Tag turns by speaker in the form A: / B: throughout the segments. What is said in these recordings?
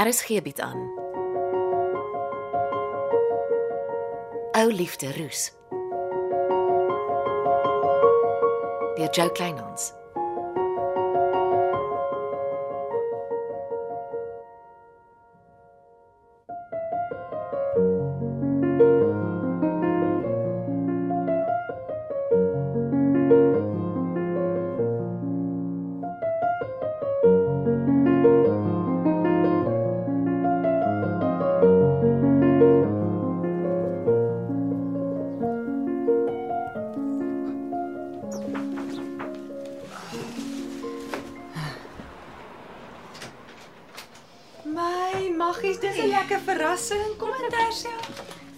A: RSG bied Er aan. Ou liefde roes. Deur Jo Kleinhans.
B: My maggies, dis 'n lekker verrassing. Kom in terself.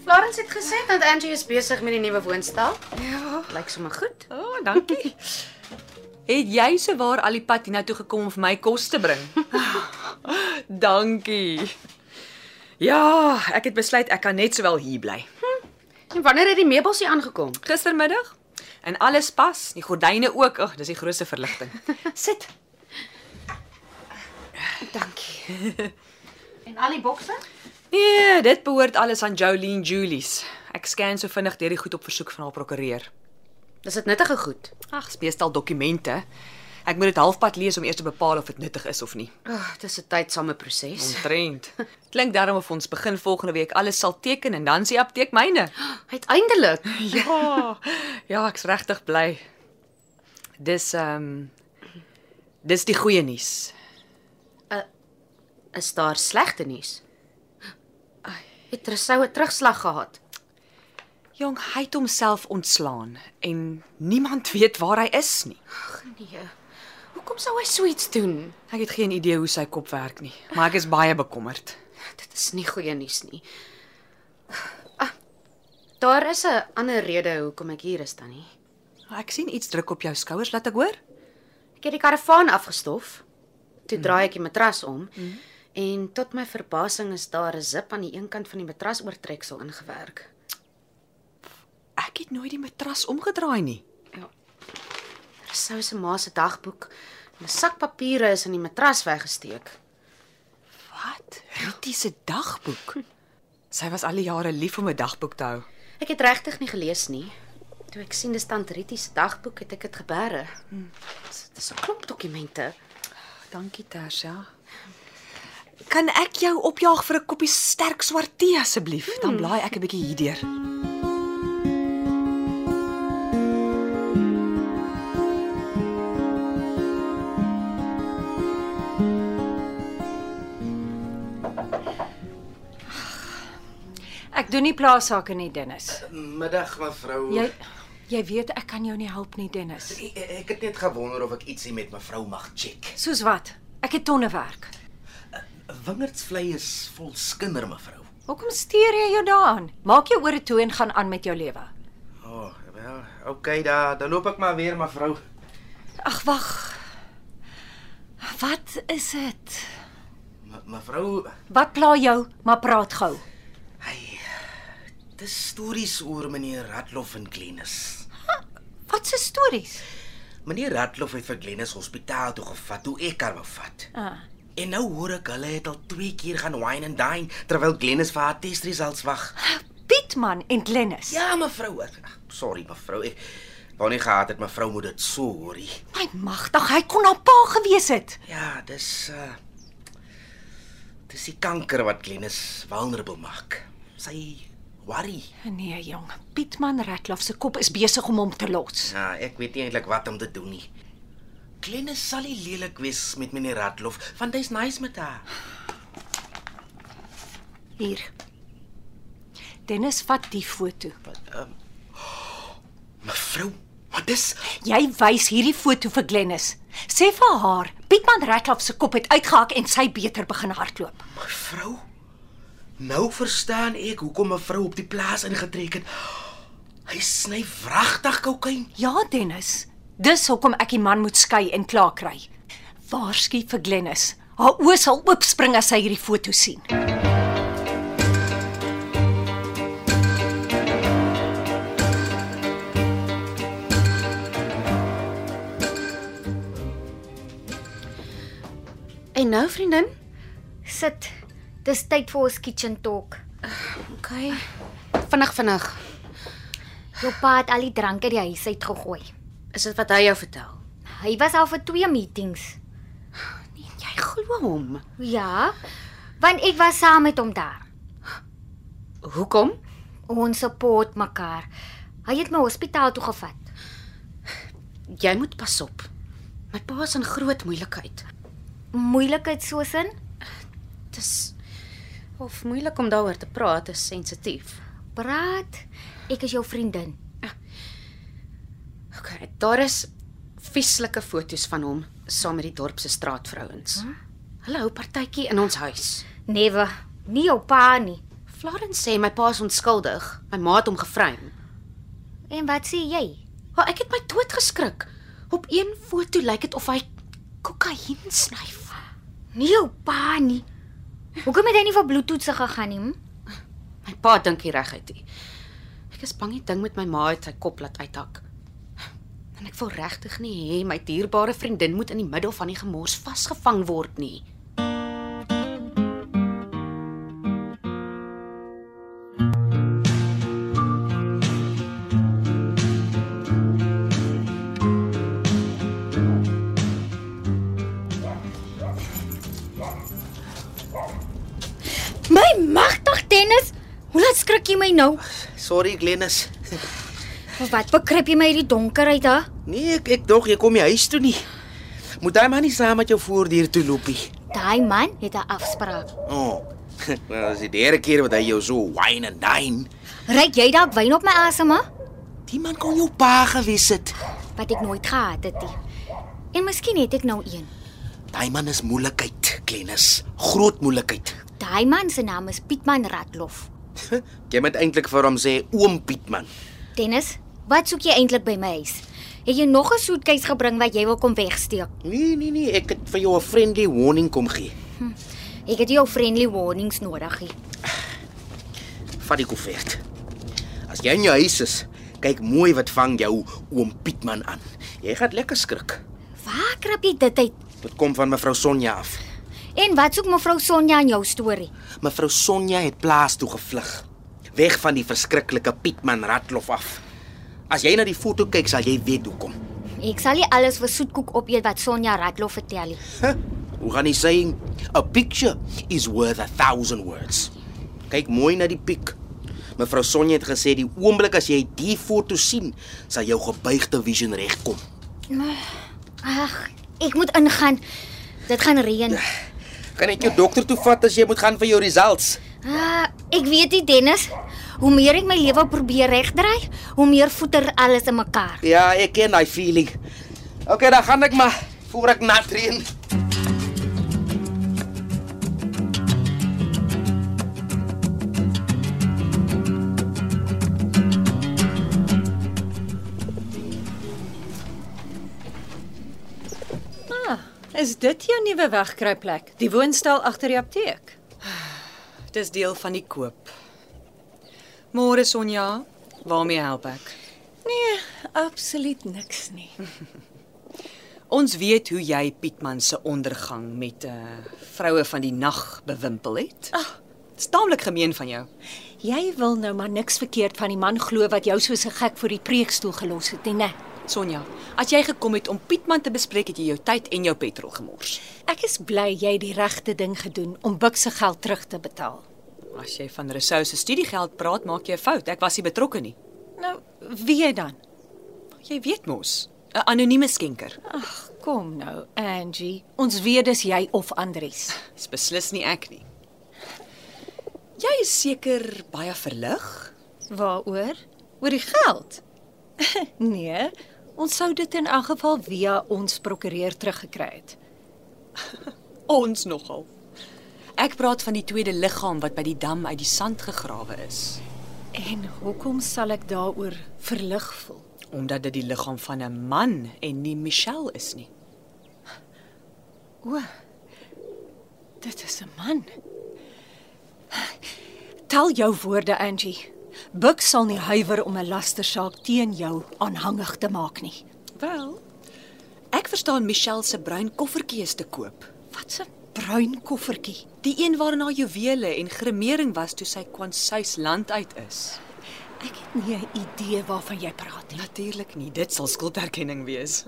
C: Florence het gesê dat Angie is besig met die nuwe woonstel.
B: Ja.
C: Lyk sommer goed.
B: O, oh, dankie.
D: Het jy sewaar al die pad hiernatoe gekom om vir my kos te bring? Dankie. Ja, ek het besluit ek kan net sowel hier bly.
C: En wanneer het die meubels hier aangekom?
D: Gistermiddag en alles pas, die gordyne ook. Ag, dis die grootste verligting.
C: Sit. Dankie. en al die bokse?
D: Nee, dit behoort alles aan Jolene Julies. Ek scan so vinnig deur die goed op versoek van haar prokureur.
C: Dis dit nuttige goed.
D: Ag, speestal dokumente. Ek moet dit halfpad lees om eers te bepaal of dit nuttig is of nie.
C: Ag, oh, dis 'n tydsame proses.
D: Omtrent. Klink daarom of ons begin volgende week alles sal teken en dan is die apteek myne.
C: Uiteindelik.
D: Ja. Ja, ek's regtig bly. Dis ehm um, dis die goeie nuus.
C: Is daar slegte nuus? Het Rousseau 'n terugslag gehad?
D: Jong, hy het homself ontslaan en niemand weet waar hy is nie.
C: Ag nee. Hoekom sou hy so iets doen?
D: Ek het geen idee hoe sy kop werk nie, maar ek is baie bekommerd.
C: Dit is nie goeie nuus nie. Ah, daar is 'n ander rede hoekom ek hier is dan nie.
D: Ek sien iets druk op jou skouers, laat ek hoor.
C: Ek het die karavaan afgestof. Toe draai ek die matras om en tot my verbasing is daar 'n zip aan die een kant van die matras oortreksel ingewerk.
D: Ek het nooit die matras omgedraai nie.
C: Rousseau se ma se dagboek en 'n sak papiere is in die matras weggesteek.
D: Wat? Rietie se dagboek. Sy was al die jare lief om 'n dagboek te hou.
C: Ek het regtig nie gelees nie. Toe ek sien dis tante Rietie se dagboek, het ek dit geberre. Dis dis 'n klomp dokumente.
D: Dankie Tersia. Kan ek jou opjaag vir 'n koppie sterk swart tee asseblief? Dan
B: Hmm.
D: blaai ek 'n bietjie hierdeur.
B: Ek doen nie plaasake nie, Dennis.
E: Middag mevrou.
B: Jy jy weet ek kan jou nie help nie, Dennis.
E: Ek, ek het net gewonder of ek ietsie met mevrou mag check.
B: Soos wat? Ek het tonne werk.
E: Wingerdsvlei is vol skinder mevrou.
B: Hoekom steur jy jou daaraan? Maak jou ore toe en gaan aan met jou lewe.
E: O, oh, wel, okay da, dan loop ek maar weer mevrou.
B: Ag, wag. Wat is dit?
E: Me- Mevrou,
B: Wat pla jou? Maar praat gou.
E: hy dis stories oor meneer Ratloff en Glenis.
B: Wat se stories?
E: Meneer Ratloff het vir Glenis hospitaal toe gevat toe ek haar wou vat.
B: Ah.
E: En nou hoor ek hulle het al twee keer gaan wine and dine terwyl Glenis vir haar testresultats wag.
B: Pietman en Glennis.
E: Ja mevrou, ek, ag, sorry mevrou, ek wou nie gehad het mevrou moet dit so hoorie.
B: My magtig, hy kon haar pa gewees het.
E: Ja, dis uh dis die kanker wat Glenis vulnerable maak. Sy worry.
B: Nee, jong. Pietman Ratloff se kop is besig om hom te los.
E: Ja, ek weet nie eintlik wat om te doen nie. Glenis sal nie lelik wees met meneer Radloff, want hy's nice met haar.
B: Hier. Dennis vat die foto.
E: Mevrou, ehm, wat is?
B: Jy wys hierdie foto vir Glennis. Sê vir haar, Pietman Ratloff se kop het uitgehak en sy beter begin hardloop.
E: Mevrou? Nou verstaan ek hoekom mevrou op die plaas ingetrek het. Hy sny wragtig kokain.
B: Ja, Dennis. Dis hoekom ek die man moet skei en klaar kry. Waarsku vir Glennis. Haar oë sal oopspring as sy hierdie foto sien.
C: En nou, vriendin, nou,
F: Sit. Dis tyd vir ons kitchen talk.
C: Okay. Vinnig vinnig.
F: Jou pa het al die drank uit die huis uit gegooi.
C: Is dit wat hy jou vertel?
F: Hy was al vir twee meetings.
C: Nee, jy glo hom.
F: Ja, want ek was saam met hom daar.
C: Hoekom?
F: Ons support mekaar. Hy het my hospitaal toe gevat.
C: Jy moet pas op. My pa is in groot moeilikheid.
F: Moeilikheid soos in
C: Dis of moeilik om daaroor te praat, is sensitief.
F: praat. Ek is jou vriendin.
C: Okay, daar is vieslike foto's van hom saam met die dorp se straatvrouens. Hulle hou partytjie in ons huis.
F: Never. Nie jou pa nie.
C: Florence sê my pa is onskuldig. My ma het hom gevreem.
F: En wat sê jy?
C: Maar ek het my dood geskrik. Op een foto lyk dit of hy kokain snyf.
F: Nie jou pa nie. Hoekom het hy nie vir bloedtoetse gegaan nie? hm?
C: My pa dink hy reguit nie. Ek is bang die ding met my ma het sy kop laat uithak. En ek wil regtig nie hê my dierbare vriendin moet in die middel van die gemors vasgevang word nie.
F: My magtig tennis. Hoe laat skrik jy my nou?
E: Sorry, Glenis.
F: Of wat bekruip jy my hierdie donkerheid hè?
E: Nee, ek ek dog jy kom nie huis toe nie. Moet hy maar nie saam met jou voordeur toe loop nie.
F: Daai man het 'n afspraak.
E: O. Oh, nou is die derde keer wat hy jou so wine and dine.
F: Ryk jy dalk wyn op my asem hè?
E: Die man kon jou pa gewees het.
F: Wat ek nooit gehad het nie. En miskien het ek nou een.
E: Daai man is moeilikheid, Glenis. Groot moeilikheid.
F: Daai man se naam is Pietman Ratlof.
E: Jy moet eintlik vir hom sê oom Pietman.
F: Dennis, wat soek jy eintlik by my huis? Het jy nog 'n soetkies gebring wat jy wil kom wegsteek?
E: Nee, nee, nee, ek het vir jou 'n friendly warning kom gee.
F: Ek het jou friendly warnings nodig. Hier.
E: Vat die koevert. As jy in jou huis is, kyk mooi wat vang jou oom Pietman aan. Jy gaan lekker skrik.
F: Waar krap jy dit uit?
E: Dit kom van mevrou Sonja af.
F: En wat soek mevrou Sonja in jou storie?
E: Mevrou Sonja het plaas toe gevlug, weg van die verskriklike Pietman Ratlof af. As jy na die foto kyk, sal jy weet hoekom.
F: Ek sal nie alles vir soetkoek opeet wat Sonja Ratlof vertel nie.
E: Huh? Hoe gaan hy sê, "A picture is worth a thousand words." Kyk mooi na die piek. Mevrou Sonja het gesê die oomblik as jy die foto sien, sal jou gebuigde vision regkom.
F: Ag, ek moet ingaan. Dit gaan reën.
E: Kan ek jou dokter toe vat as jy moet gaan vir jou results?
F: Ah, ek weet nie Dennis. Hoe meer ek my lewe probeer regdry, hoe meer voeter alles in mekaar.
E: Ja, ek ken daai feeling. Okay, dan gaan ek maar voor ek nat reën.
B: Is dit jou nuwe wegkruipplek? Die woonstel agter die apteek.
D: Dis deel van die koop. Môre Sonja, waarmee help ek?
B: Nee, absoluut niks nie.
D: Ons weet hoe jy Pietman se ondergang met 'n uh, vroue van die nag bewimpel het. Ag, dis taamlik gemeen van jou.
B: Jy wil nou maar niks verkeerd van die man glo wat jou soos 'n gek voor die preekstoel gelos het nie, né?
D: Sonja, as jy gekom het om Pietman te bespreek, het jy jou tyd en jou petrol gemors.
B: Ek is bly jy het die regte ding gedoen om Buk se geld terug te betaal.
D: As jy van Rousseau se studiegeld praat, maak jy 'n fout. Ek was nie betrokke nie.
B: Nou, wie dan?
D: Jy weet mos, 'n anonieme skenker.
B: Ag, kom nou, Angie. Ons weet dis jy of Andries.
D: Dis beslis nie ek nie. Jy is seker baie verlig.
B: Waaroor? Oor die geld? nee, ons sou dit in elk geval via ons prokureur teruggekry het.
D: Ons nogal. Ek praat van die tweede liggaam wat by die dam uit die sand gegrawe is,
B: En hoekom sal ek daaroor verlig voel?
D: omdat dit die liggaam van 'n man en nie Michelle is nie.
B: O. Dit is 'n man. Tel jou woorde, Angie. Buck sal nie huiwer om 'n lastersaak teen jou aanhangig te maak nie.
D: Wel, ek verstaan Michelle se bruin koffertjie is te koop.
B: Wat 'n bruin koffertjie.
D: Die een waarin haar juwele en gremering was toe sy Kwansuis land uit is.
B: Ek het nie 'n idee waarvan jy praat nie.
D: Natuurlik nie, dit sal skulderkenning wees.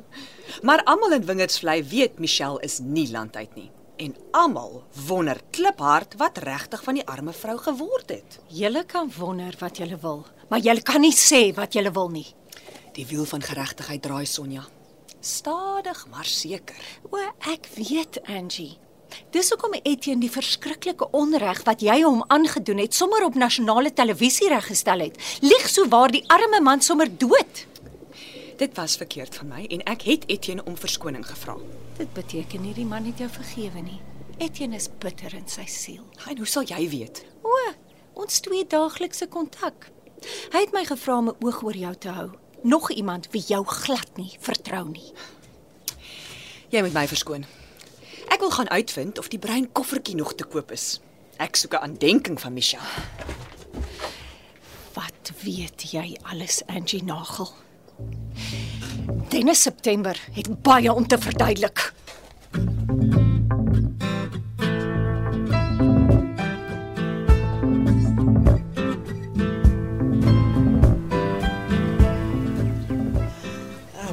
D: Maar almal in Wingerdsvlei weet Michelle is nie land uit nie en almal wonder kliphard wat regtig van die arme vrou geword het.
B: Julle kan wonder wat julle wil, maar julle kan nie sê wat julle wil nie.
D: Die wiel van geregtigheid draai Sonja. Stadig maar seker.
B: O, ek weet, Angie. Dis hoekom Etienne die verskriklike onreg wat jy hom aangedoen het, sommer op nasionale televisie reggestel het. Lieg sou waar die arme man sommer dood.
D: Dit was verkeerd van my en ek het Etienne om verskoning gevra.
B: Dit beteken nie die man het jou vergewe nie. Etienne is bitter in sy siel.
D: En hoe sal jy weet?
B: O, ons twee daaglikse kontak. Hy het my gevra om 'n oog oor jou te hou. Nog iemand wie jou glad nie vertrou nie.
D: Jy moet my verskoon. Ek wil gaan uitvind of die bruin koffertjie nog te koop is. Ek soek 'n aandenking van Michelle.
B: Wat weet jy alles, Angie Nagel? Dennis September het baie om te verduidelik.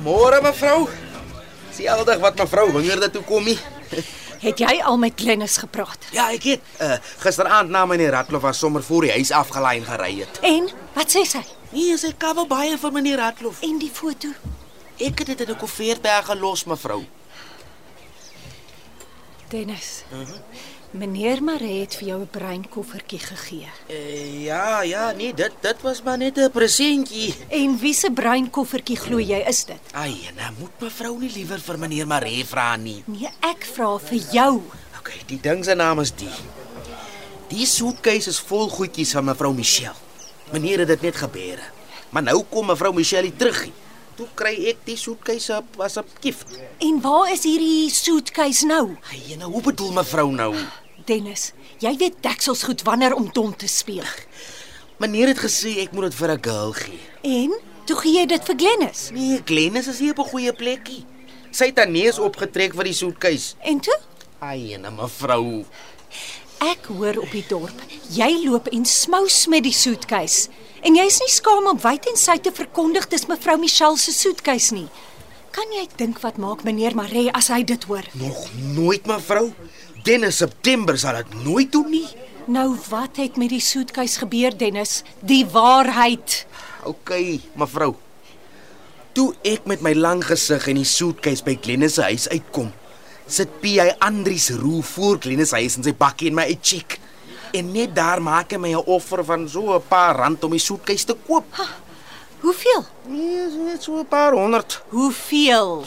E: Môre mevrou. Sien aldag wat mevrou wingerde toe kom nie.
B: Het jy al met Glennis gepraat?
E: Ja, ek het uh, gisteraand na meneer Ratlof was sommer voor die huis afgelaai en gery het.
B: En wat sê sy?
E: Nee, sy kawe baie vir meneer Ratlof.
B: En die foto?
E: Ek het dit in 'n koffertberg gelos mevrou.
B: Dennis. Meneer Maree het vir jou 'n breinkoffertjie gegee.
E: Uh, ja, ja, nee, dit dit was maar net 'n presentjie.
B: En wie se breinkoffertjie glo jy is dit?
E: Ai, nou moet mevrou nie liewer vir meneer Maree vra nie.
B: Nee, ek vra vir jou.
E: Okay, die ding se naam is die. Die soetkies is vol goedjies van mevrou Michelle. Meneer het dit net gebeure. Maar nou kom mevrou Michelle nie terug nie. Toe kry ek die soetkies op as 'n gift.
B: En waar is hierdie suitcase nou?
E: Ai, nou hoe bedoel mevrou nou?
B: Dennis, jy weet Deksels goed wanneer om dom te speel.
E: Meneer het gesê ek moet dit vir 'n girl gee.
B: En toe gee jy dit vir Glennis.
E: Nee, Glennis is hier op 'n goeie plekkie. Sy het haar neus opgetrek vir die soetkies.
B: En toe
E: Ai, en nou, mevrou.
B: Ek hoor op die dorp, jy loop en smous met die soetkuis. En jy's nie skaam om wyd en sy te verkondig dis mevrou Michelle se soetkuis nie. Kan jy dink wat maak meneer Maree as hy dit hoor?
E: Nog nooit mevrou. Dennis September sal dit nooit doen nie.
B: Nou wat het met die soetkuis gebeur, Dennis? Die waarheid.
E: OK, mevrou. Toe ek met my lang gesig en die soetkies by Glennis se huis uitkom, sit PI Andries roe voor Glennis se huis in sy bakkie en my uitcheck. En net daar maak hy my 'n offer van so 'n paar rand om die soetkies te koop.
B: Hoeveel?
E: Nee, is net so 'n paar honderd.
B: Hoeveel?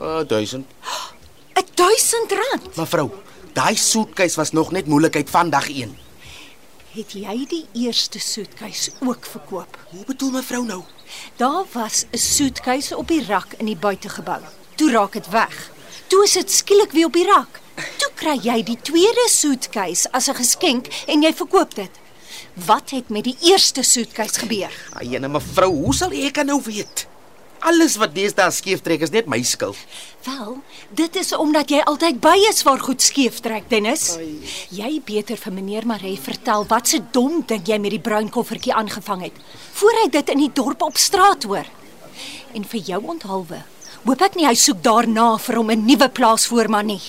E: Uh, 1000.
B: 1000 rand.
E: Mevrou, daai soetkies was nog net moeilikheid vandag een.
B: Het jy die eerste soetkuis ook verkoop?
E: Hoe bedoel mevrou nou?
B: Daar was 'n soetkuis op die rak in die buitegebou. Toe raak dit weg. Toe is dit skielik weer op die rak. Toe kry jy die tweede soetkuis as 'n geskenk en jy verkoop dit. Wat het met die eerste soetkuis gebeur?
E: Ai, en mevrou, hoe sal ek kan nou weet? Alles wat deesdae skeef trek is net my skuld.
B: Wel, dit is omdat jy altyd by is waar goed skeef trek, Dennis. Jy beter vir meneer Maree vertel wat se dom ding jy met die bruin koffertjie aangevang het voor hy dit in die dorp op straat hoor. En vir jou onthaalwe, hoop ek nie hy soek daarna vir hom 'n nuwe plaasvoorman nie.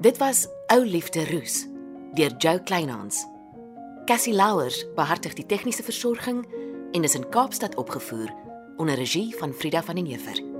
A: Dit was Ou Liefde Roos deur Jo Kleinhans. Cassie Louwers behartig die tegniese versorging en is in Kaapstad opgevoer onder regie van Frida van den Heever.